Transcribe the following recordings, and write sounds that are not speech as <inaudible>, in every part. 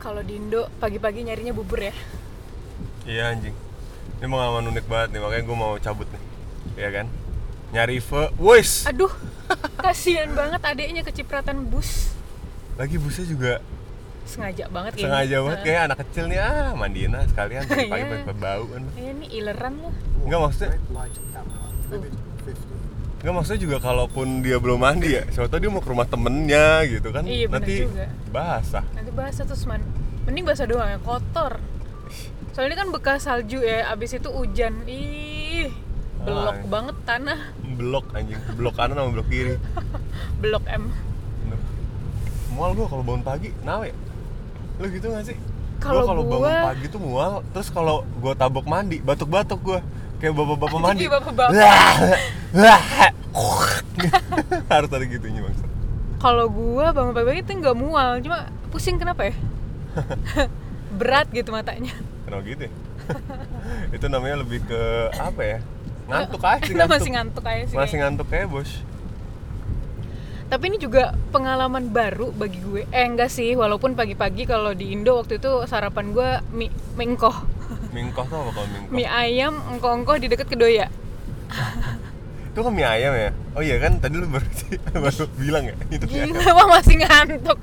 Kalau di Indo pagi-pagi nyarinya bubur ya. Iya anjing. Ini pengalaman unik banget nih, makanya gue mau cabut nih. Iya kan? Nyari Ive, wes. Aduh, <laughs> kasihan banget adiknya kecipratan bus. Lagi busnya juga Sengaja banget kayaknya. Nah, sengaja banget ya. kayak anak kecil nih ah mandiin ah sekalian pagi pagi <laughs> Iya. yeah. bau kan. Iya nih ileran lu. Enggak maksudnya, Red light camera, Uh. limit 50. enggak maksudnya juga kalaupun dia belum mandi ya, siapa tahu dia mau ke rumah temennya gitu kan. Iya, bener Nanti juga. basah. Nanti basah terus man. Mending basah doang ya, kotor. Soalnya ini kan bekas salju ya, abis itu hujan. Ih, belok Ah. banget tanah. Blok anjing, blok kanan sama blok kiri. Belok em. Bener. Mual gua kalau bangun pagi, nawe. Lu gitu gak sih? Kalau Gua kalau bangun gua- pagi tuh mual, terus kalau gua tabok mandi, batuk-batuk gua. Kayak bapak-bapak Anjing, mandi. kayak bapak-bapak. Wah, wah, <laughs> Harus ada gitunya, Bang. Kalau gua bangun pagi-pagi itu nggak mual, cuma pusing kenapa <laughs> ya? Berat gitu matanya. Kenapa gitu <laughs> ya? Itu namanya lebih ke apa ya? Ngantuk aja, Nah, ngantuk. <laughs> masih ngantuk aja sih. Masih kayaknya. ngantuk kayak, Bos. Tapi ini juga pengalaman baru bagi gue. Eh enggak sih, walaupun pagi-pagi kalau di Indo waktu itu sarapan gue mie, mie engkoh. Mingkoh tuh apa kalau mingkoh? Mie ayam engkoh-engkoh di deket kedoya. Itu kan mie ayam ya? Oh iya kan, tadi lu baru, <laughs> baru bilang ya? Itu mie ayam. Gila, wah <laughs> masih ngantuk.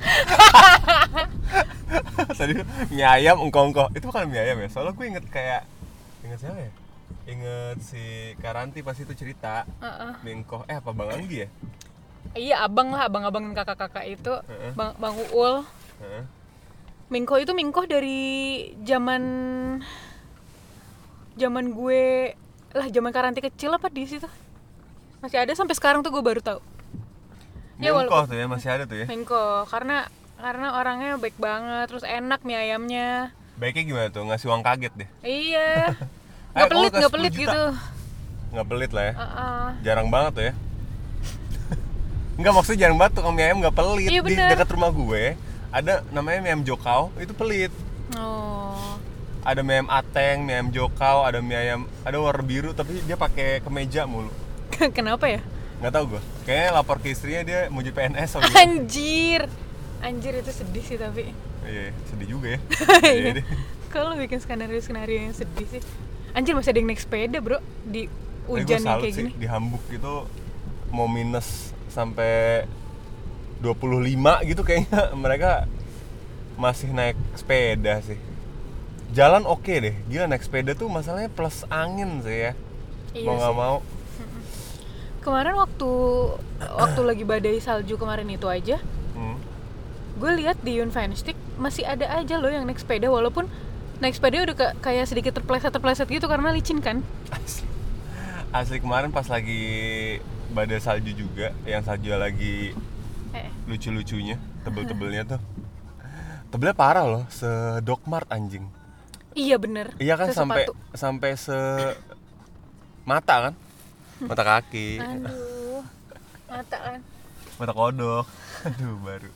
<laughs> tadi tuh, mie ayam engkong-engkong itu bukan mie ayam ya soalnya gue inget kayak inget siapa ya inget si Karanti pasti itu cerita Heeh. mie engkoh eh apa Bang Anggi ya Iya, abang lah, abang-abang dan kakak-kakak itu, Heeh. Bang, Bang Uul. Heeh. Mingkoh itu mingkoh dari zaman zaman gue lah zaman karanti kecil apa di situ masih ada sampai sekarang tuh gue baru tahu mie Ya, wala- engkoh tuh ya masih ada tuh ya Mingkoh karena karena orangnya baik banget terus enak mie ayamnya baiknya gimana tuh ngasih uang kaget deh iya <laughs> Ayo, nggak pelit Eh, kamu kasih nggak pelit 10 juta. gitu nggak pelit lah ya Heeh. jarang banget tuh ya <laughs> nggak maksudnya jarang banget tuh mie ayam nggak pelit Iya, di bener. dekat rumah gue ada namanya mie ayam jokau itu pelit oh <laughs> ada mie ayam ateng mie ayam jokau ada mie ayam ada warna biru tapi dia pakai kemeja mulu kenapa ya nggak tahu gue kayaknya lapor ke istrinya dia mau jadi PNS <laughs> atau gimana. anjir anjir itu sedih sih tapi iya iya, sedih juga ya <laughs> Iya. Iya deh. Kalau bikin skenario skenario yang sedih sih. Anjir masih ada yang naik sepeda, Bro, di Tapi hujan Eh, gua yang salut kayak sih, gini. di Hamburg itu mau minus sampai 25 gitu kayaknya <laughs> mereka masih naik sepeda sih jalan oke deh gila naik sepeda tuh masalahnya plus angin sih ya Iya mau nggak sih. mau Kemarin waktu waktu lagi badai salju kemarin itu aja, hmm. <laughs> gue lihat di Unfinestick masih ada aja loh yang naik sepeda walaupun naik sepeda udah ke- kayak sedikit terpleset-terpleset gitu karena licin kan. asli asli kemarin pas lagi badai salju juga yang salju lagi Eh, lucu-lucunya, tebel-tebelnya tuh. Tebelnya parah loh, sedokmart anjing. iya bener. Iya kan sampai Sesepatu. sampai se mata kan? Mata kaki, Aduh. Mata kan. mata kodok. <laughs> Aduh, baru.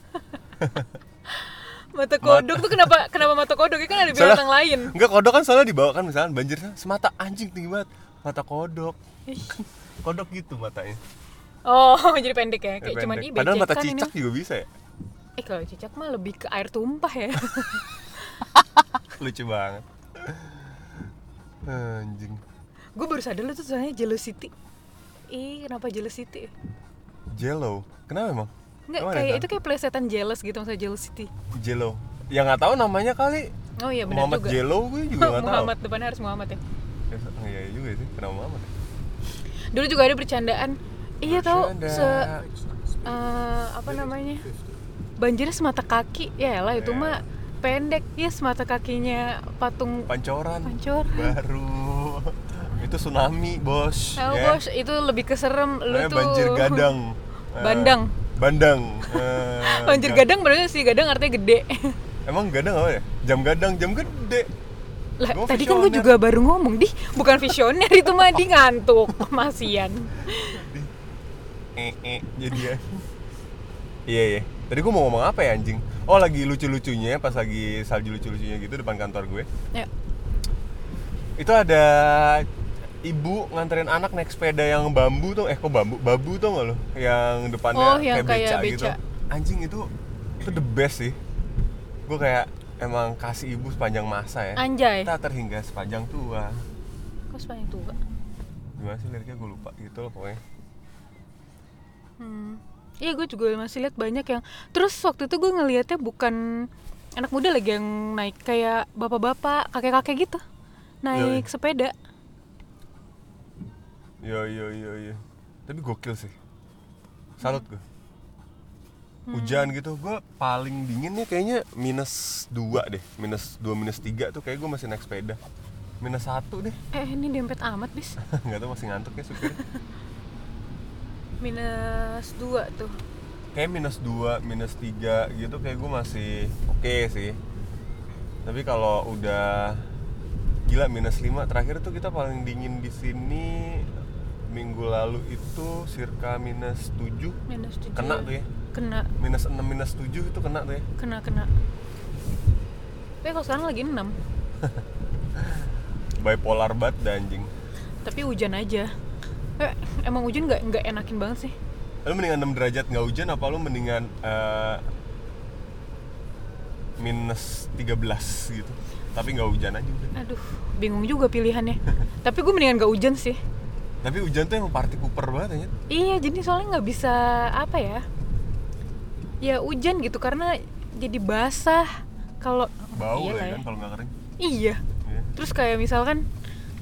Mata kodok tuh kenapa kenapa mata kodok? Ya kan ada binatang lain. Enggak kodok kan soalnya dibawa kan misalnya banjir semata anjing tinggi banget. Mata kodok. Ih. kodok gitu matanya. Oh, <laughs> jadi pendek ya. Kayak Iya, Pendek. cuman ih Padahal mata becekan ini cicak juga bisa ya. Eh kalau cicak mah lebih ke air tumpah ya. <laughs> Lucu banget. <laughs> Anjing. gue baru sadar lu tuh sebenarnya jealous city. Ih, kenapa jealous city? Jello. Kenapa emang? Enggak, Emang ada kayak yang itu kayak plesetan jealous gitu maksudnya jealous city. tahu? Jello. Ya nggak tahu namanya kali. Oh iya benar Muhammad juga. Jello gue juga <laughs> nggak tahu. Muhammad depannya harus Muhammad ya. Eh, Iya juga sih, kenapa Muhammad? Dulu juga ada bercandaan. Iya tahu Bercanda. se eh, apa namanya? Banjirnya semata kaki. Ya lah itu Ya. mah pendek. Ya semata kakinya patung Pancoran. pancor. Baru. Itu tsunami, Bos. Tahu ya. bos, itu lebih keserem lu Namanya tuh. banjir gadang. Eh, Bandang. bandang. Eh, <laughs> Banjir ga- gadang berarti sih gadang artinya <laughs> gede. Emang gadang apa ya? Jam gadang, jam gede. Lah, Gua tadi kan gue visioner. juga baru ngomong di bukan visioner itu mah di ngantuk masian. Eh, eh, jadi <laughs> ya. iya, iya. Tadi gue mau ngomong apa ya anjing? Oh, lagi lucu-lucunya pas lagi salju lucu-lucunya gitu depan kantor gue. Ya, Itu ada ibu nganterin anak naik sepeda yang bambu tuh eh kok bambu babu tuh nggak lo yang depannya Oh, yang kayak beca. gitu anjing itu itu the best sih gue kayak emang kasih ibu sepanjang masa ya anjay. kita terhingga sepanjang tua Kok sepanjang tua? gimana sih liriknya gue lupa gitu loh pokoknya Hmm. Iya gue juga masih lihat banyak yang terus waktu itu gue ngelihatnya bukan anak muda lagi yang naik kayak bapak-bapak, kakek-kakek gitu. Naik Yoi. sepeda. Yo yo yo yo. iya, Tapi gokil sih. Salut gue. Hujan gitu, gue paling dinginnya kayaknya minus 2 deh Minus 2, minus 3 tuh kayak gue masih naik sepeda Minus 1 deh <laughs> Eh ini dempet amat bis. Gak tau masih ngantuk ya supir Minus dua tuh. Kayak minus 2, minus 3 gitu kayak gue masih oke sih Tapi kalau udah gila minus 5 Terakhir tuh kita paling dingin di sini Minggu lalu itu circa minus 7 Minus tujuh. Kena tuh ya? Kena minus 6 minus 7 itu kena tuh ya kena kena. Tapi kalau sekarang lagi enam. bipolar banget dah anjing Tapi hujan aja. Eh, emang hujan nggak nggak enakin banget sih. lu mendingan 6 derajat nggak hujan apa lu mendingan eh, minus 13 gitu tapi nggak hujan aja udah Aduh, bingung juga <laughs> pilihannya. Tapi gue mendingan nggak hujan sih. tapi hujan tuh emang party cooper banget aja Iya, jadi soalnya nggak bisa apa ya? Ya hujan gitu karena jadi basah kalau bau Iya lah ya ya. kan kalau nggak kering Iya. Iya. Terus kayak misalkan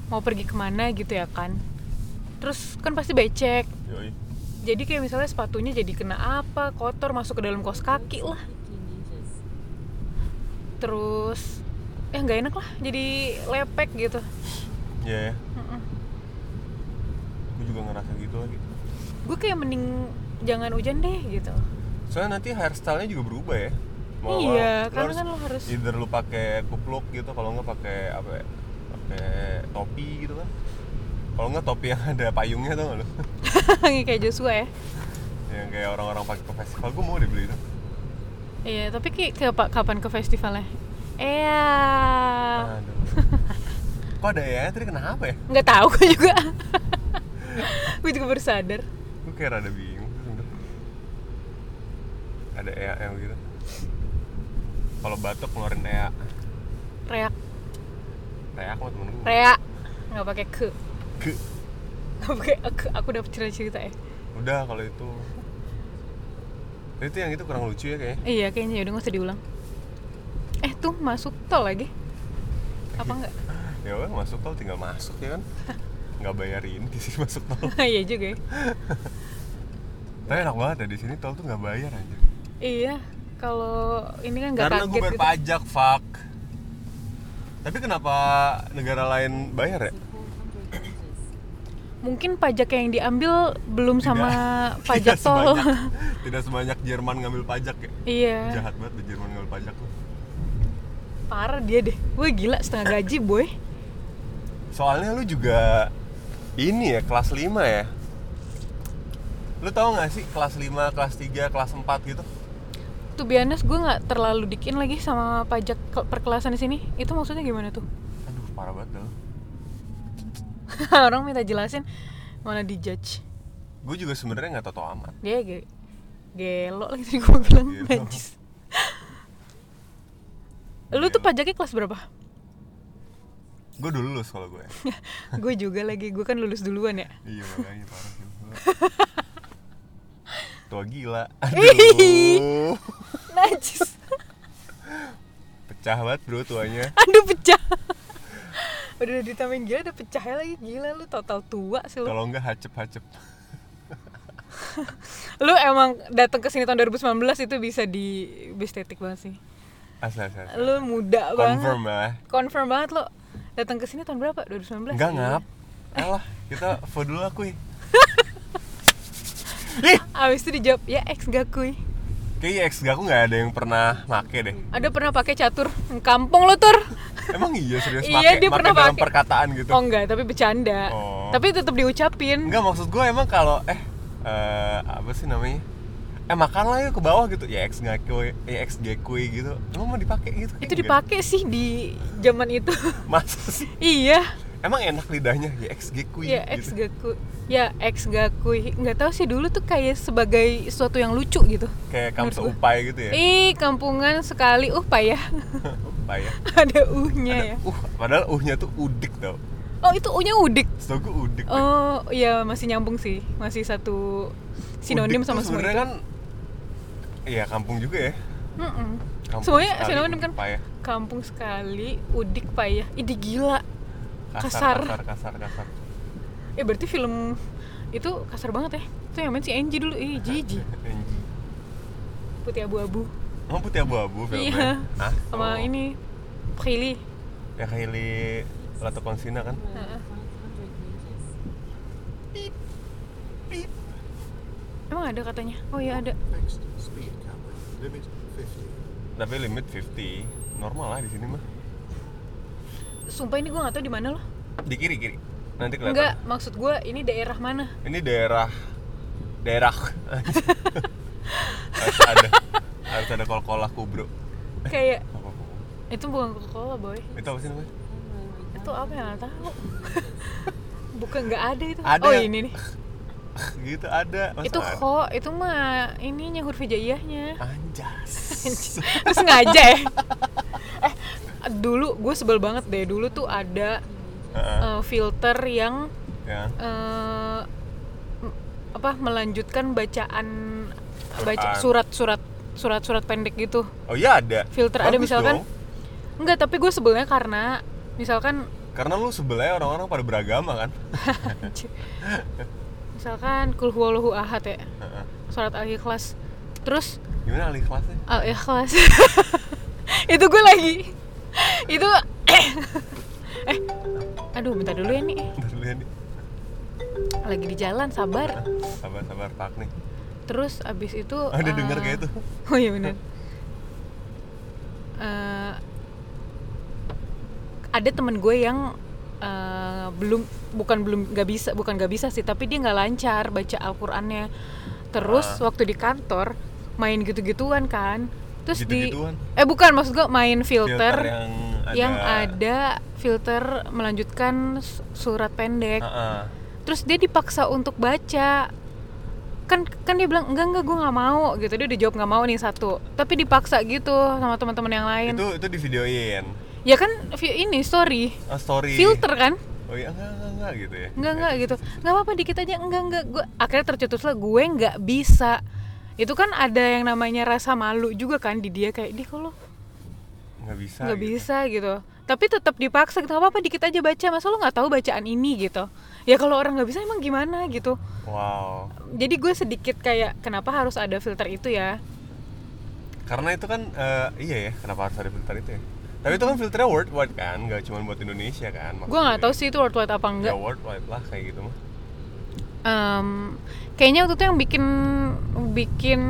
mau pergi kemana gitu ya kan. Terus kan pasti becek. Yoi. Jadi kayak misalnya sepatunya jadi kena apa, kotor masuk ke dalam kos kaki lah. Terus ya nggak enak lah, jadi lepek gitu. Iya ya Mm-mm. gue juga ngerasa gitu lagi Gue kayak mending jangan hujan deh gitu. soalnya nanti hairstyle-nya juga berubah ya Iya, lu karena kan lu harus- either lu pakai kupluk gitu kalau nggak pakai apa ya pakai topi gitu kan kalau nggak topi yang ada payungnya tuh lu <laughs> <laughs> kayak Joshua ya. yang kayak orang-orang pakai ke festival gue mau deh beli itu Iya, tapi ki- ke, pa- kapan ke festivalnya? Iya. aduh kok ada ya tadi kenapa ya Nggak tahu gue juga. <laughs> gue juga baru sadar. gue kayak rada bingung tuh sebenernya. ada EAL gitu kalau batuk ngeluarin E EA Reak, Reak mah temen gue rea. Nggak pakai ke. Ke. Nggak pakai ke. Aku dapat cerita-cerita ya. udah kalau itu itu yang itu kurang lucu ya kayaknya Iya, kayaknya udah nggak usah diulang. Eh, tuh masuk tol lagi. Apa enggak? ya udah masuk tol tinggal masuk ya kan nggak bayarin di sini masuk tol <laughs> Iya juga ya. tapi enak banget ya di sini tol tuh nggak bayar aja Iya, kalau ini kan nggak karena gue kaget bayar gitu. pajak fuck tapi kenapa negara lain bayar ya Mungkin pajak yang diambil belum sama <laughs> Tidak- pajak tidak tol. Iya. sebanyak- tidak sebanyak Jerman ngambil pajak ya <laughs> iya. jahat banget di Jerman ngambil pajak tuh Parah dia deh. Gue gila setengah gaji, boy. soalnya lu juga ini ya kelas 5 ya lu tau gak sih kelas 5, kelas 3, kelas 4 gitu tuh biasanya gue nggak terlalu dikin lagi sama pajak ke- perkelasan di sini itu maksudnya gimana tuh <laughs> aduh parah banget dah orang minta jelasin mana di judge gue juga sebenarnya nggak tau tau amat dia ge gelo lagi tadi gue bilang Gelo. najis lu tuh Gelo. pajaknya kelas berapa gue dulu lulus kalau gue gue juga lagi gue kan lulus duluan ya iya makanya parah sih <laughs> Gua tua gila aduh Ih. najis <laughs> <laughs> pecah banget bro tuanya aduh pecah udah udah ditambahin gila udah pecahnya lagi gila lu total tua sih lu kalau nggak hacep hacep lu emang datang ke sini tahun 2019 itu bisa di bestetik banget sih asli asli, asli. lu muda banget confirm lah confirm banget lo datang ke sini tahun berapa 2019 Iya. Enggak ngap. Alah, kita foto dulu aku. abis itu dijawab ya ex gak "Ya, kuy Kayaknya ex aku nggak ada yang pernah make deh. Ada pernah pakai catur? Kampung lo tur. Emang iya serius Iya, dia make, make pernah dalam pakai. perkataan gitu. Oh enggak, tapi bercanda. Oh. Tapi tetap diucapin. Enggak maksud gue emang kalau eh eh, apa sih namanya? Eh makanlah yuk ke bawah gitu. Ya ex nggak kue, ya ex gak kue gitu. Emang mau dipakai gitu? Itu Enggak. dipakai sih di zaman itu. <laughs> Masa sih? iya. Emang enak lidahnya ya ex gak kue. Ya ex gitu. gaku. Ya ex gaku. Nggak tahu sih dulu tuh kayak sebagai sesuatu yang lucu gitu. Kayak kamu Menurut gue. seupai gitu ya. Ih, kampungan sekali. Uh, payah. <laughs> Upai ya. Ada uhnya Ada ya. uh, padahal uhnya tuh udik tau. Oh, itu uhnya udik. Setahu gue udik. deh. Oh, ya masih nyambung sih. Masih satu sinonim Udik sama tuh semua sebenarnya itu. kan iya kampung juga ya. Mm-mm. Kampung Semuanya sekali, sinonim kan. Pak ya. Kampung sekali, udik payah. Ini gila. Kasar, Kasar. kasar, kasar, kasar. <laughs> Eh, berarti film itu kasar banget ya. Itu yang main si Angie dulu. Ih, Gigi. Anjing. Putih abu-abu. Emang putih abu-abu filmnya? Iya. Hah? Sama Oh. ini Prilly. Ya Hailey Latokonsina kan? Heeh. Emang ada katanya? Oh iya ada. Next speed camera, limit 50. Tapi limit 50. Normal lah di sini mah. Sumpah ini gue gak tahu di mana loh. Di kiri-kiri. Nanti kelihatan. Enggak, maksud gue ini daerah mana? Ini daerah <laughs> daerah. harus ada harus ada kol-kolah kubro. Kayak Apa kubro? itu bukan Coca-Cola, boy. Itu apa sih namanya? Itu apa yang nggak tahu? <laughs> bukan nggak ada itu. Ada Oh yang- ini nih. gitu ada. Masa itu ada? kok itu mah ininya huruf hijaiyahnya. Anjas. <laughs> Terus ngaja ya. eh, dulu gue sebel banget deh. Dulu tuh ada Heeh. eh, filter yang ya. eh, m- apa melanjutkan bacaan baca Quran. surat-surat surat-surat pendek gitu Oh iya ada. filter ada Bagus misalkan dong. enggak tapi gue sebelnya karena misalkan <laughs> Karena lu sebelahnya orang-orang pada beragama kan? misalkan kul huwallahu ahad ya Heeh. surat al ikhlas terus Gimana alih kelasnya? al Oh, ikhlas <laughs> itu gue lagi itu <coughs> eh aduh bentar dulu ya nih Bentar dulu ya nih. lagi di jalan sabar Sabar sabar tak nih. terus abis itu Oh, eh, dia denger kayak itu. Oh iya benar. Eh, ada temen gue yang eh, belum bukan belum nggak bisa bukan nggak bisa sih tapi dia nggak lancar baca Al-Qur'annya. Terus Ah. waktu di kantor main gitu-gituan kan. Terus Gitu-gituan? di eh bukan maksud gue main filter, yang ada. yang ada filter melanjutkan su- surat pendek Heeh. terus dia dipaksa untuk baca kan kan dia bilang enggak enggak gue nggak mau gitu dia udah jawab nggak mau nih satu tapi dipaksa gitu sama teman-teman yang lain Itu itu di videoin. ya kan vi- ini story Oh, story. filter kan Oh iya enggak enggak enggak gitu ya. enggak enggak gitu nggak apa-apa dikit aja enggak enggak gue akhirnya tercetuslah gue nggak bisa itu kan ada yang namanya rasa malu juga kan di dia kayak di kalau Enggak bisa. nggak gitu. bisa gitu tapi tetap dipaksa gitu nggak apa-apa dikit aja baca masa lo nggak tahu bacaan ini gitu ya kalau orang nggak bisa emang gimana gitu Wow. jadi gue sedikit kayak kenapa harus ada filter itu ya Karena itu kan eh, iya ya, kenapa harus ada filter itu ya? Tapi itu kan filternya worldwide kan, enggak cuma buat Indonesia kan. gue nggak tahu sih itu worldwide apa enggak Ya worldwide lah kayak gitu mah. Em, kayaknya waktu itu yang bikin bikin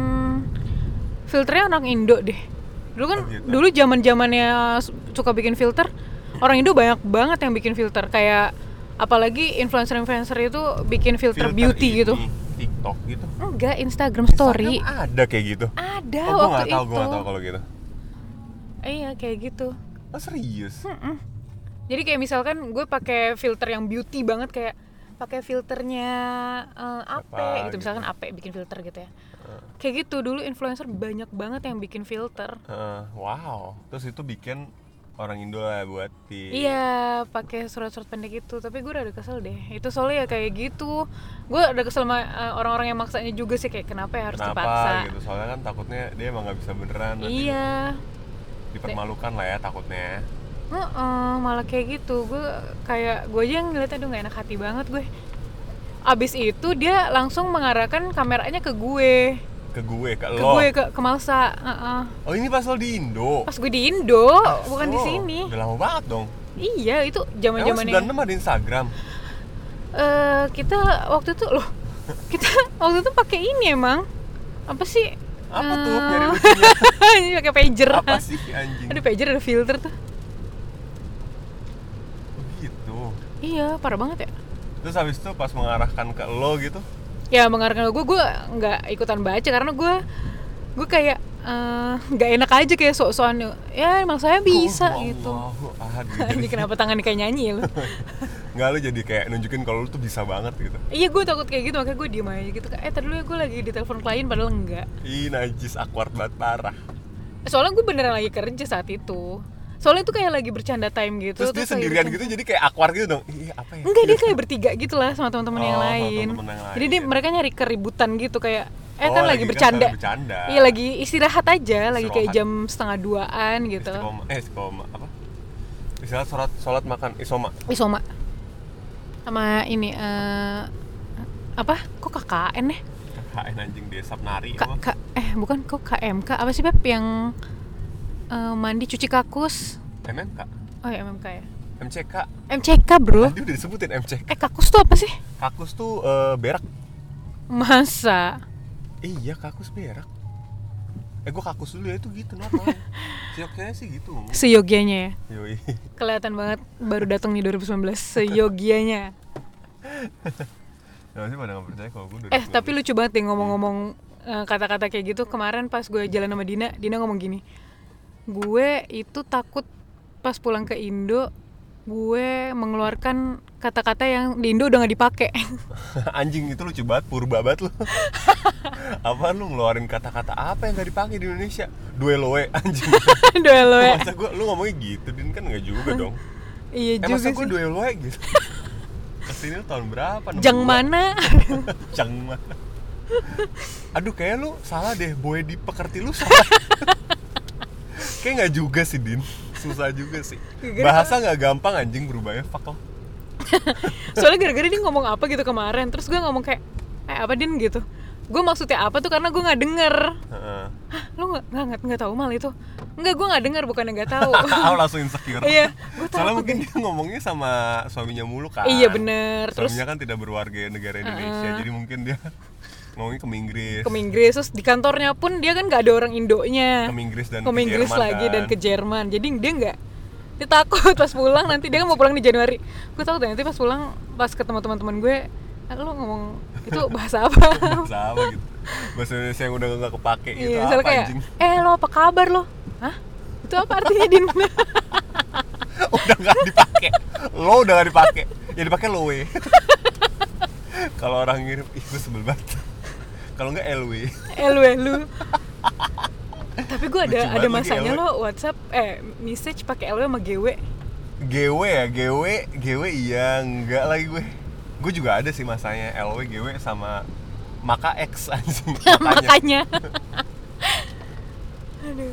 filternya orang Indo deh dulu kan Oh gitu. dulu zaman zamannya suka bikin filter orang Indo banyak banget yang bikin filter kayak apalagi influencer influencer itu bikin filter, beauty ini, gitu TikTok gitu. enggak Instagram story Instagram ada kayak gitu. ada oh, Ya, gue waktu tahu, itu gue nggak tahu kalau gitu. iya kayak gitu Oh serius? Hmm. Jadi kayak misalkan gue pakai filter yang beauty banget kayak pakai filternya eh, Ape Apa gitu gitu. misalkan Ape bikin filter gitu ya. Kayak gitu dulu influencer banyak banget yang bikin filter. Heeh, Eh, wow. Terus itu bikin orang Indo lah buat di Iya, pakai surat-surat pendek itu. Tapi gue udah kesel deh. Itu soalnya ya kayak gitu. Gue udah kesel sama eh, orang-orang yang maksanya juga sih kayak kenapa ya harus kenapa dipaksa. gitu. Soalnya kan takutnya dia emang nggak bisa beneran. nanti Iya. Dipermalukan lah ya takutnya. Heeh, malah kayak gitu. Gue kayak gue aja yang ngeliat aduh gak enak hati banget gue. Abis itu dia langsung mengarahkan kameranya ke gue. Ke gue, ke, ke lo. gue ke ke Malsa heeh. Oh ini pas lo di Indo. pas gue di Indo bukan di Oh, sini Udah lama banget dong. iya itu zaman Emang zamannya 96 ada Instagram. <laughs> eh kita waktu itu loh kita waktu itu pakai ini emang apa sih Apa <laughs> tuh Eh. nyari lucunya? Ini pakai pager. Apa sih anjing? Aduh pager ada filter tuh. Gitu. Iya, parah banget ya. Terus habis itu pas mengarahkan ke lo gitu, Ya mengarahkan gue, gue nggak ikutan baca karena gue gue kayak eh, nggak enak aja kayak sok-sokan ya emang saya bisa Qul gitu huwallahu ahad, gitu. ini kenapa tangan kayak nyanyi ya <laughs> lu Nggak lu jadi kayak nunjukin kalau lu tuh bisa banget gitu. iya gue takut kayak gitu makanya gue diem aja gitu eh tadi dulu ya gue lagi di telepon klien padahal enggak Ih, najis awkward banget parah. soalnya gue beneran lagi kerja saat itu soalnya itu kayak lagi bercanda time gitu Terus dia kayak sendirian bercanda. gitu jadi kayak awkward gitu dong. Ih, apa ya? enggak dia kayak bertiga gitu lah sama teman-teman yang Oh, sama lain teman-teman yang jadi dia lain. iya. mereka nyari keributan gitu kayak eh Oh, kan lagi lagi kan bercanda lagi bercanda. iya lagi istirahat aja lagi kayak Istirahat. jam setengah duaan gitu Istiqomah, eh istiqomah apa? Istilah sholat, sholat makan isoma. isoma sama ini eh apa kok KKN ya KKN anjing desa penari Kak, apa? Kak- eh bukan kok KMK apa sih Beb yang eh, mandi cuci kakus MMK, oh ya MMK ya MCK. MCK bro Tadi udah disebutin MCK. eh kakus tuh apa sih Kakus tuh eh, berak. masa Iya, kakus berak. Eh, gua kakus dulu ya itu <laughs> gitu normal. Sioknya sih gitu. Om. seyogianya ya Yoi. kelihatan banget baru datang nih 2019 seyogianya Ya sih pada nggak percaya kalau gua udah. gitu. eh tapi lucu banget deh ngomong-ngomong eh, kata-kata kayak gitu kemarin pas gue jalan sama Dina Dina ngomong gini gue itu takut pas pulang ke Indo gue mengeluarkan kata-kata yang di Indo udah nggak dipakai <laughs> <laughs> anjing itu lucu banget, purba banget lu. Apaan lu ngeluarin kata-kata apa yang gak dipakai di Indonesia? Dueloe <laughs> anjing. Doa lo ya masa gua lu ngomongnya gitu, Din kan nggak juga <laughs> dong. iya Eh juga masa gue sih dueloe gitu. <laughs> Kesini lu tahun berapa? 62? Jang mana? <laughs> <laughs> Jang mana? Aduh kayak lu salah deh, boy di pekerti lu <laughs> salah. kayak nggak juga sih Din, susah juga sih. Bahasa nggak gampang anjing berubahnya, fuck lah. Soalnya gara-gara dia ngomong apa gitu kemarin Terus gue ngomong kayak Eh apa Din gitu Gue maksudnya apa tuh karena gue gak denger Heeh. Hah lu gak, nggak nggak nggak tahu mal itu Enggak gue gak denger bukannya gak tahu Aku langsung insecure. Iya gue Soalnya takut mungkin dia ngomongnya sama suaminya mulu kan. Iya bener Terus Suaminya kan tidak berwarga negara Indonesia, jadi mungkin dia <laughs> ngomongnya ke Inggris, ke Inggris Terus di kantornya pun dia kan gak ada orang Indonya ke Inggris dan Ke Inggris Jerman lagi kan. dan ke <laughs> Jerman Jadi dia gak dia takut pas pulang nanti dia kan mau pulang di Januari gue takut nanti pas pulang pas ketemu teman-teman gue "Ah, lu ngomong itu bahasa apa <laughs> bahasa apa gitu bahasa Indonesia yang udah nggak kepake gitu Iya, apa misalnya kayak, anjing eh lo apa kabar lo? Hah? Itu apa artinya Din? <laughs> <laughs> udah nggak dipakai lo udah nggak dipakai ya dipakai loe <laughs> kalau orang ngirim ih gue sebel banget kalau nggak lw eh lu, eh, lu. Tapi gue ada Lucu banget ada lagi masanya LW. lo WhatsApp eh message pakai LW sama GW. gw ya gw gw iya nggak lagi gue gue juga ada sih masanya lw gw sama maka x <laughs> anjing makanya Makanya.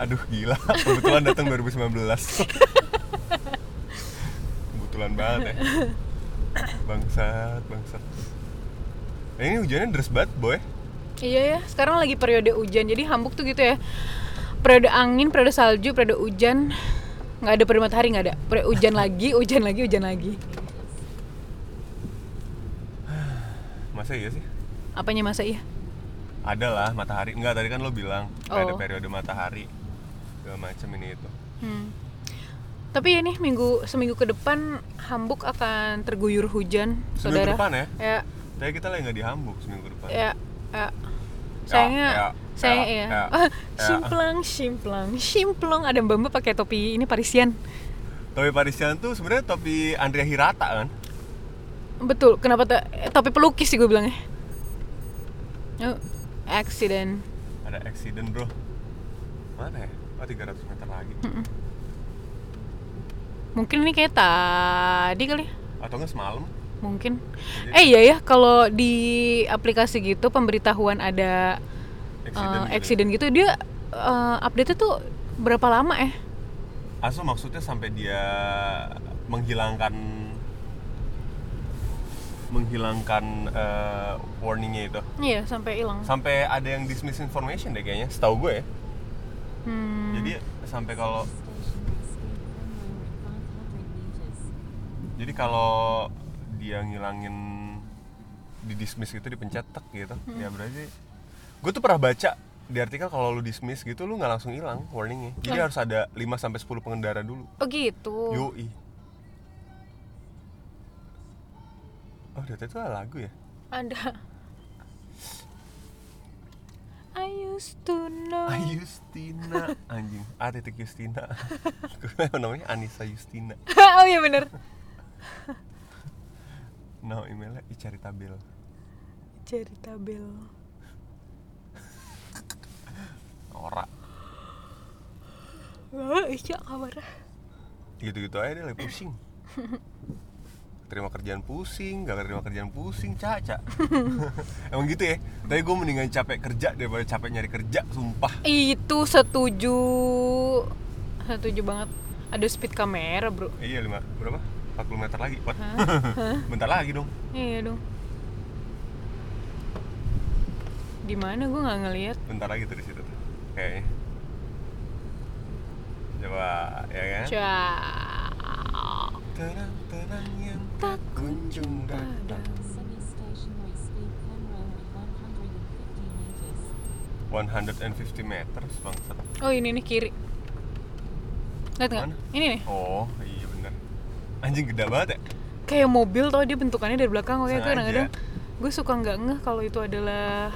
aduh gila kebetulan datang 2019 kebetulan banget ya bangsat bangsat Eh, ini hujannya deres banget boy iya ya, sekarang lagi periode hujan. Jadi Hamburg tuh gitu ya. Periode angin, periode salju, periode hujan. Nggak ada periode matahari, nggak ada. Periode hujan lagi, hujan lagi, hujan lagi. masa iya sih Apanya masa iya? ada lah matahari enggak tadi kan lo bilang Oh. ada periode matahari segala macem ini itu Hmm. Tapi ya nih minggu seminggu ke depan Hamburg akan terguyur hujan, seminggu saudara. depan ya Ya, tapi kita lagi nggak di Hamburg seminggu depan ya, ya. Sayangnya, ya, sayangnya ya, ya. ya, ya. Simplang, simplang, simplong. Ada mbak mbak pakai topi ini Parisian. topi Parisian tuh sebenarnya topi Andrea Hirata kan Betul. Kenapa ta- eh, topi pelukis sih gue bilangnya? Oh, accident. ada accident bro mana ya oh 300 meter lagi Mungkin ini kayak tadi kali. ya. atau nggak semalam Mungkin. Jadi- Eh iya ya, kalau di aplikasi gitu pemberitahuan ada accident, eh, gitu. accident gitu dia update tuh berapa lama ya? Asu maksudnya sampai dia menghilangkan menghilangkan eh, warningnya itu Iya, sampai hilang. sampai ada yang dismiss information deh kayaknya setahu gue ya Hmm. jadi sampai kalau jadi kalau dia ngilangin di dismiss gitu dipencet tek gitu ya berarti gue tuh pernah baca di artikel kalau lu dismiss gitu lu nggak langsung hilang warningnya jadi harus ada 5 sampai 10 pengendara dulu Oh gitu. yoi oh data itu ada lagu ya Ada. I used to know. Ayustina anjing A titik Justina Kenapa namanya Anissa Justina <laughs> oh iya bener. no emailnya Icaritabel Cari tabel. ora Wah, iya kabar. gitu-gitu aja dia lagi <laughs> pusing terima kerjaan pusing gak terima kerjaan pusing caca <laughs> emang gitu ya tapi gue mendingan capek kerja daripada capek nyari kerja sumpah Itu setuju. Setuju banget. Ada speed kamera, Bro. iya lima berapa 40 meter lagi Wah. <laughs> bentar lagi dong Iya dong. Di mana gue nggak ngelihat. bentar lagi tuh di situ tuh kayaknya coba ya kan Cak. terang-terang yang tak kunjung datang Semi stationary speed camera at 150 meters. 150 meter bangsat Oh ini nih kiri. Lihat nggak? Mana? Ini nih. oh iya bener anjing gede banget ya Kayak mobil tau dia bentukannya dari belakang. Oke, Sengaja. kadang-kadang gue suka nggak ngeh kalau itu adalah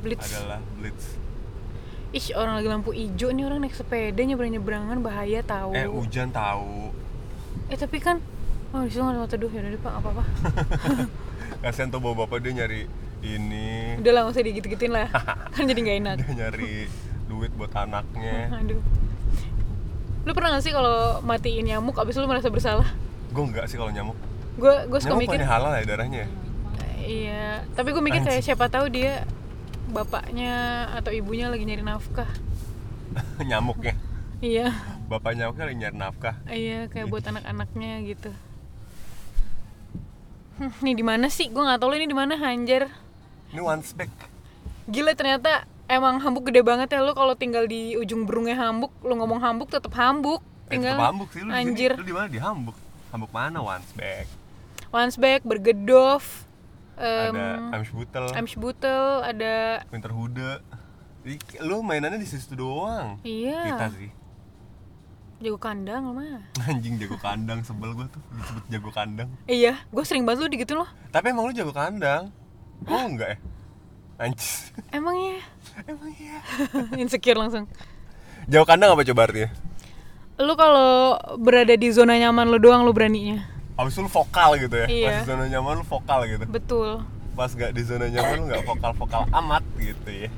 blitz. adalah blitz Ih orang lagi lampu hijau nih orang naik sepeda nyebrang nyebrangan bahaya tahu. Eh hujan tahu. Eh, tapi kan oh disitu nggak ada mata duh ya deh pak apa apa. Kasihan tuh bawa bapak dia nyari ini, Udah lah nggak usah digigit-gigitin <laughs> lah. kan jadi nggak enak. dia nyari duit buat <laughs> anaknya. Aduh. Lu pernah gak sih kalau matiin nyamuk abis lu merasa bersalah? Gue enggak sih kalau nyamuk. Gue gue suka Nyamuk mikir. pada halal ya darahnya. ya? Iya, tapi gue mikir kayak siapa tahu dia bapaknya atau ibunya lagi nyari nafkah. Hmm. <laughs> Nyamuknya. Iya, Bapak nyamuknya lagi nyari nafkah. iya kayak buat anak-anaknya gitu. Hmm, ini di mana sih? Gue nggak tahu lah ini di mana Hanjar. Ini one spec. Eh, Gila ternyata emang Hambuk gede banget ya lo kalau tinggal di ujung berungnya Hambuk, lo ngomong Hambuk tetap Hambuk. Eh, Tinggal tetep Hamburg sih lu di sini. Anjir. Lu di mana? Di Hamburg. Hamburg mana one spec? Wandsbek, Bergedorf, ada em Amsbutel, Amsbutel, ada Winterhude. Jadi, lu mainannya di situ doang. Iya. Kita sih. <laughs> jago kandang lo mah. Anjing jago kandang sebel gue tuh disebut jago kandang. Iya, gue sering banget lo digituin loh. Tapi emang lu jago kandang? Oh enggak ya? Anjis <laughs> Emangnya <laughs> Emang iya insecure langsung. Jago kandang apa coba artinya? Lu kalau berada di zona nyaman lu doang lu beraninya. Abis itu lu vokal gitu ya? Iya. Pas di zona nyaman lu vokal gitu Betul. Pas gak di zona nyaman lu gak vokal-vokal amat gitu ya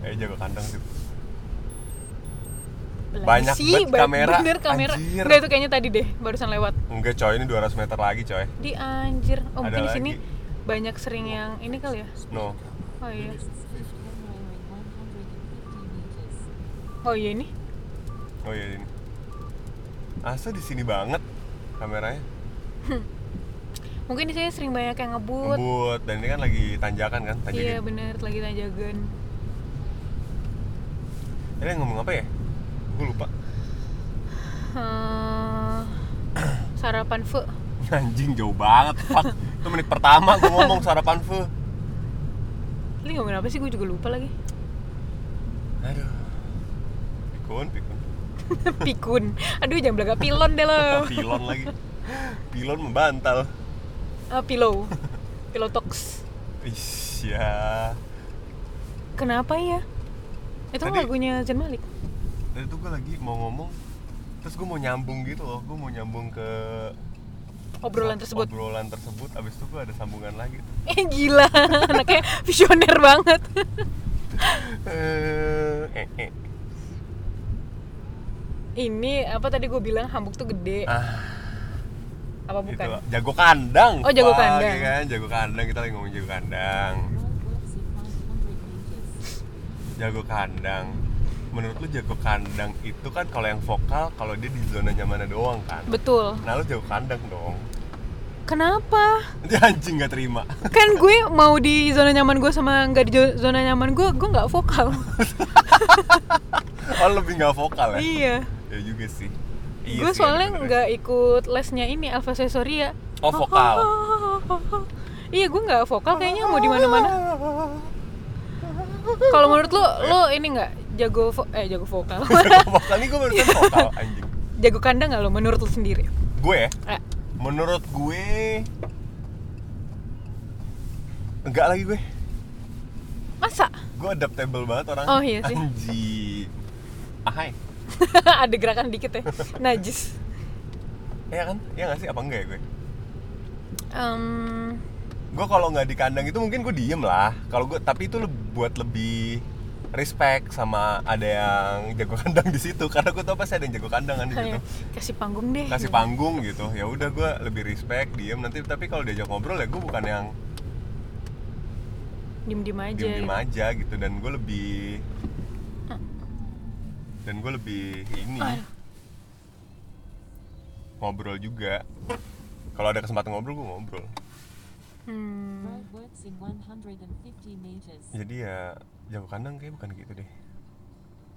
Eh jago kandang sih Banyak banget kamera, Bener kamera. anjir. Enggak itu kayaknya tadi deh, barusan lewat. Enggak coy ini 200 meter lagi coy Di anjir. Oh, Ada mungkin di sini lagi. banyak sering yang ini kali ya. No Oh iya. Speed camera at 150 meters. Oh iya ini. Oh iya ini Asa di sini banget kameranya Mungkin di sini sering banyak yang ngebut. ngebut dan ini kan lagi tanjakan kan Iya tanjakan bener, lagi tanjakan. ini ngomong apa ya gue lupa Eh, sarapan fe. <laughs> anjing jauh banget fuck itu menit pertama gue ngomong sarapan fuh Ini ngomongin apa sih? Gue juga lupa lagi. <laughs> aduh pikun pikun Pikun. Aduh, jangan belaga pilon deh lo. <laughs> pilon lagi pilon membantal Ah, pillow. Pillow talks. Ish, ya Kenapa ya? Itu kan Tadi- lagunya Zain Malik. tadi tuh gue lagi mau ngomong terus gue mau nyambung gitu loh gue mau nyambung ke Obrolan tersebut. obrolan tersebut abis itu gue ada sambungan lagi tuh. Eh gila, <laughs> anaknya visioner banget. eh, eh, eh. Ini apa tadi gue bilang hambuk tuh gede. ah Apa bukan? itu Gitu jago kandang Oh, jago Pak, kandang. ya kan jago kandang kita lagi ngomong jago kandang Road works at 500 meters. jago kandang menurut lu jago kandang itu kan kalau yang vokal kalau dia di zona nyamannya doang kan Betul. nah lu jago kandang dong Kenapa? dia anjing nggak terima <laughs> Kan gue mau di zona nyaman gue sama nggak di jo- zona nyaman gue, gue nggak vokal. <laughs> oh lebih nggak vokal ya iya. ya juga sih Iya gue sih, ada soalnya benernya. nggak ikut lesnya ini Alpha Sesoria. Oh, vokal. <laughs> iya, gue nggak vokal kayaknya mau di mana-mana. Kalau menurut lu, lu ini nggak jago vo- eh jago vokal, <laughs> <laughs> vokal nih gue barusan vokal anjing jago kandang nggak lu menurut lu sendiri? gue ya Eh, menurut gue enggak lagi gue masa gue adaptable banget orang Oh, iya sih. anjing Ah, ahai <laughs> ada gerakan dikit <laughs> ya, najis. ya kan ya nggak sih apa enggak ya gue Em, gue kalau nggak di kandang itu mungkin gue diem lah kalau gue tapi itu le- buat lebih respect sama ada yang jago <laughs> kandang di situ karena gue tau pasti ada yang jago kandang kan di situ kayak, kasih panggung deh. kasih panggung gitu ya udah gue lebih respect diem nanti tapi kalau diajak ngobrol ya gue bukan yang Diem diem aja. diem diem aja gitu dan gue lebih dan gue lebih ini Aduh. ngobrol juga kalau ada kesempatan ngobrol gue ngobrol Hmm. Write words in 150 meters. jadi ya jago kandang kayak bukan gitu deh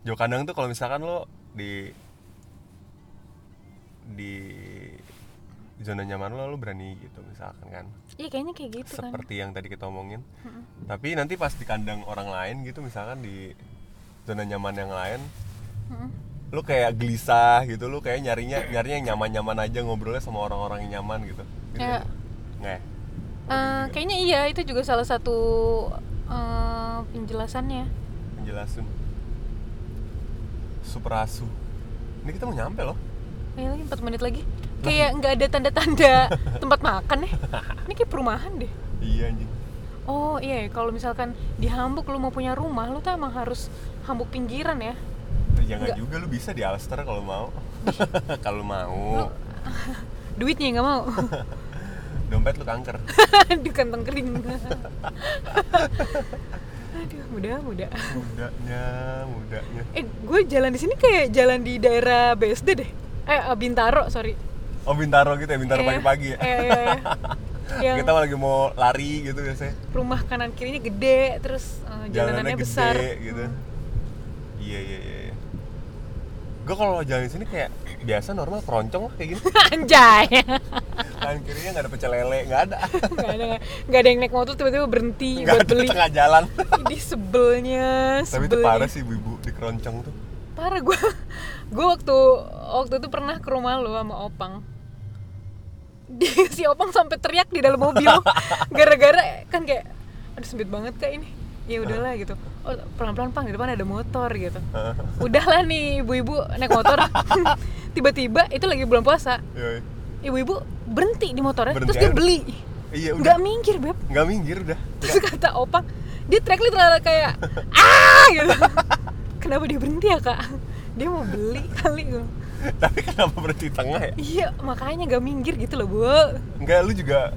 jago kandang tuh kalau misalkan lo di di zona nyaman lo lo berani gitu misalkan kan Iya kayaknya kayak gitu kan. seperti yang tadi kita omongin tapi nanti pas di kandang orang lain gitu misalkan di zona nyaman yang lain Mm-mm. lu kayak gelisah gitu lu kayak nyarinya nyarinya yang nyaman-nyaman aja ngobrolnya sama orang-orang yang nyaman gitu gitu Ya. kan? Nggak ya? Eh, kayaknya iya itu juga salah satu eh, penjelasannya. penjelasin suprasu ini kita mau nyampe loh Kayak lagi 4 menit lagi. Kayak nggak ada tanda-tanda tempat makan ya. Ini kayak perumahan deh. iya anjing Oh iya, ya, kalau misalkan di Hamburg lu mau punya rumah, lu tuh emang harus Hamburg pinggiran ya. <laughs> ya Nggak. nggak juga lu bisa di Alster kalau <laughs> mau kalau mau Duitnya nggak mau <laughs> dompet lu kanker di kantong kering. <laughs> Aduh, muda muda. mudanya mudanya Eh, gue jalan di sini kayak jalan di daerah BSD deh. Eh, Bintaro, sorry. oh bintaro gitu ya bintaro Eh, pagi-pagi ya Eh, iya, <laughs> iya. Yang kita lagi mau lari gitu biasanya rumah kanan kirinya gede, terus eh, jalanannya gede, besar. gitu Hmm. iya iya iya gue kalau jalan di sini kayak biasa normal keroncong lah kayak <laughs> gini <laughs> Anjay. kanan kirinya nggak ada pecel lele nggak ada Gak ada, nggak ada yang naik motor tiba-tiba berhenti nggak Iya, buat ada beli. tengah jalan <laughs> Ini sebelnya, tapi itu parah sih ibu-ibu di keroncong tuh <laughs> parah gue gue waktu waktu itu pernah ke rumah lo sama opang Dia- <laughs> si opang sampai teriak di dalam <laughs> mobil gara-gara kan kayak aduh sempit banget kayak ini ya udahlah gitu oh, pelan-pelan pang di depan ada motor gitu udahlah nih ibu-ibu naik motor <laughs> tiba-tiba itu lagi bulan puasa Yoi. ibu-ibu berhenti di motornya Berhenti terus dia aja. beli iya udah Iya. nggak minggir beb nggak minggir udah terus <laughs> kata opang dia track literally <laughs> kayak ah gitu kenapa dia berhenti ya kak dia mau beli kali gue tapi kenapa berhenti di tengah ya iya makanya gak minggir gitu loh bu nggak lu juga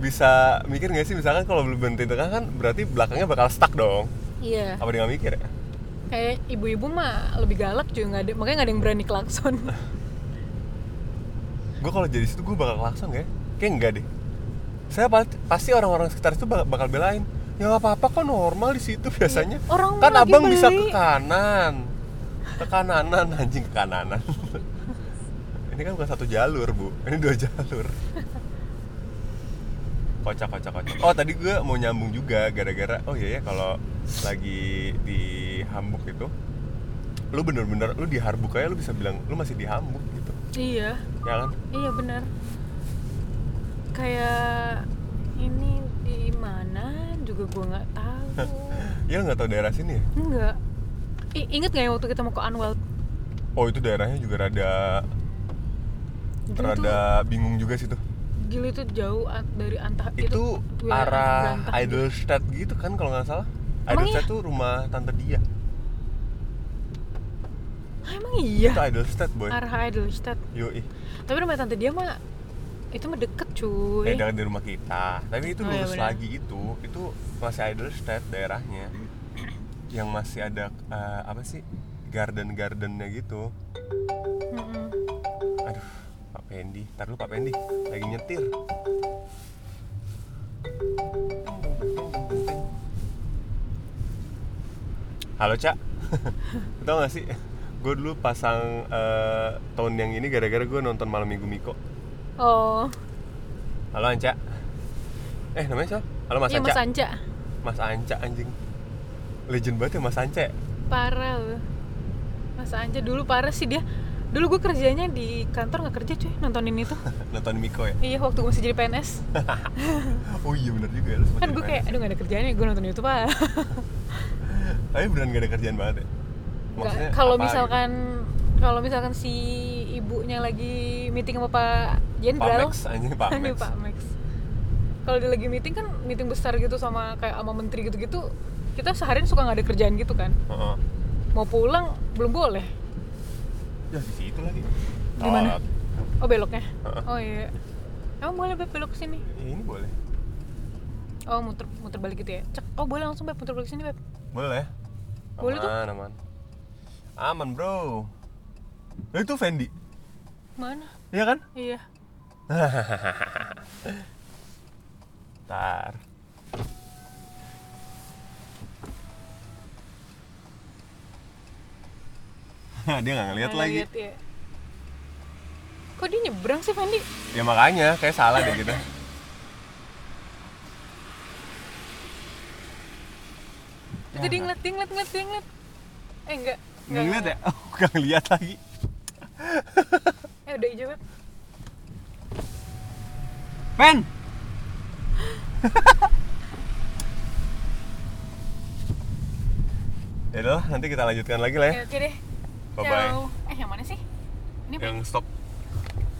bisa mikir nggak sih misalkan kalau lu berhenti di tengah kan berarti belakangnya bakal stuck dong iya apa dia nggak mikir ya kayak ibu-ibu mah lebih galak juga nggak ada makanya nggak ada yang berani <laughs> klakson gue kalau jadi situ gue bakal langsung ya kayak enggak deh saya pa- pasti orang-orang sekitar itu bakal, bakal belain ya nggak apa-apa kok normal di situ <laughs> biasanya Iya, orang kan lagi abang bisa beli. ke kanan ke kananan <laughs> anjing ke kananan ini kan bukan satu jalur bu ini dua jalur kocak kocak kocak oh tadi gue mau nyambung juga gara-gara oh iya ya kalau lagi di Hamburg itu lu bener-bener lu di Harbuk aja lu bisa bilang lu masih di Hamburg gitu iya ya kan iya benar kayak ini di mana juga gue nggak <laughs> tahu Iya nggak tahu daerah sini ya? enggak I- inget nggak yang waktu kita mau ke Anwalt Oh itu daerahnya juga rada Gila tuh- rada bingung juga sih tuh. gila itu jauh a- dari antah Itu wilayah arah Antah Berantah. Eidelstadt gitu kan kalau nggak salah. Emang Eidelstadt tuh rumah tante dia. Ah, emang iya Itu Eidelstadt boy. arah Eidelstadt Yoi. tapi rumah tante dia mah itu mah deket cuy Eh jangan di rumah kita. Tapi itu Oh, iya, lurus benar. lagi itu. Itu masih Eidelstadt daerahnya. Yang masih ada eh, apa sih? Garden-gardennya gitu. Mm-mm. Aduh, Pak Pendi. Ntar dulu Pak Pendi lagi nyetir. Halo, Cak. <laughs> Lu Tau gak sih? Gue dulu pasang eh, tone yang ini gara-gara gue nonton Malam Minggu Miko. oh Halo, Anca. Eh, namanya siapa? Halo, Mas iya Anca. mas Anca Mas Anca, anjing. legend banget ya Mas Ance. parah loh Mas Anja dulu parah sih dia dulu gue kerjanya di kantor nggak kerja cuy nontonin itu Nonton Miko ya. iya waktu gue masih jadi PNS Oh iya bener juga ya lu sempat kan jadi gue PNS. kayak aduh nggak ada kerjaan ya gue nonton YouTube ah Tapi beneran gak ada kerjaan banget ya. Maksudnya Nggak, kalau apa misalkan kalau misalkan si ibunya lagi meeting sama Pak gitu? Jenderal Pamex anjing <laughs> Pamex. Aduh, Pak Max. Kalau dia lagi meeting kan meeting besar gitu sama kayak sama menteri gitu-gitu, kita seharian suka nggak ada kerjaan gitu kan. Heeh. Mau pulang belum boleh. Ya di situ lagi. Di mana? Telat. Oh beloknya. Heeh. Oh iya. Emang boleh Beb, belok sini. Ya, ini boleh. Oh muter muter balik gitu ya. Cek. Oh boleh langsung Beb muter balik sini Beb. Boleh. Boleh tuh. Aman, aman. Aman, Bro. Lah, itu Fendi. Mana? Iya kan? Iya. Ntar. <laughs> dia nggak ngeliat Nggak lagi. lihat, iya. Kok dia nyebrang sih Fendi? Ya makanya, kayak salah deh kita. Itu dia ngeliat, dia ngeliat, ngeliat, dia ngeliat. Eh enggak. Nggak ngeliat ya? <laughs> Oh, nggak ngeliat lagi. ya? Eh udah hijau Beb. <laughs> Pen! ya udah lah, nanti kita lanjutkan lagi lah ya. Ya, Oke deh. Bye-bye. ya. Ciao. Eh yang mana sih? Ini apa? Yang stop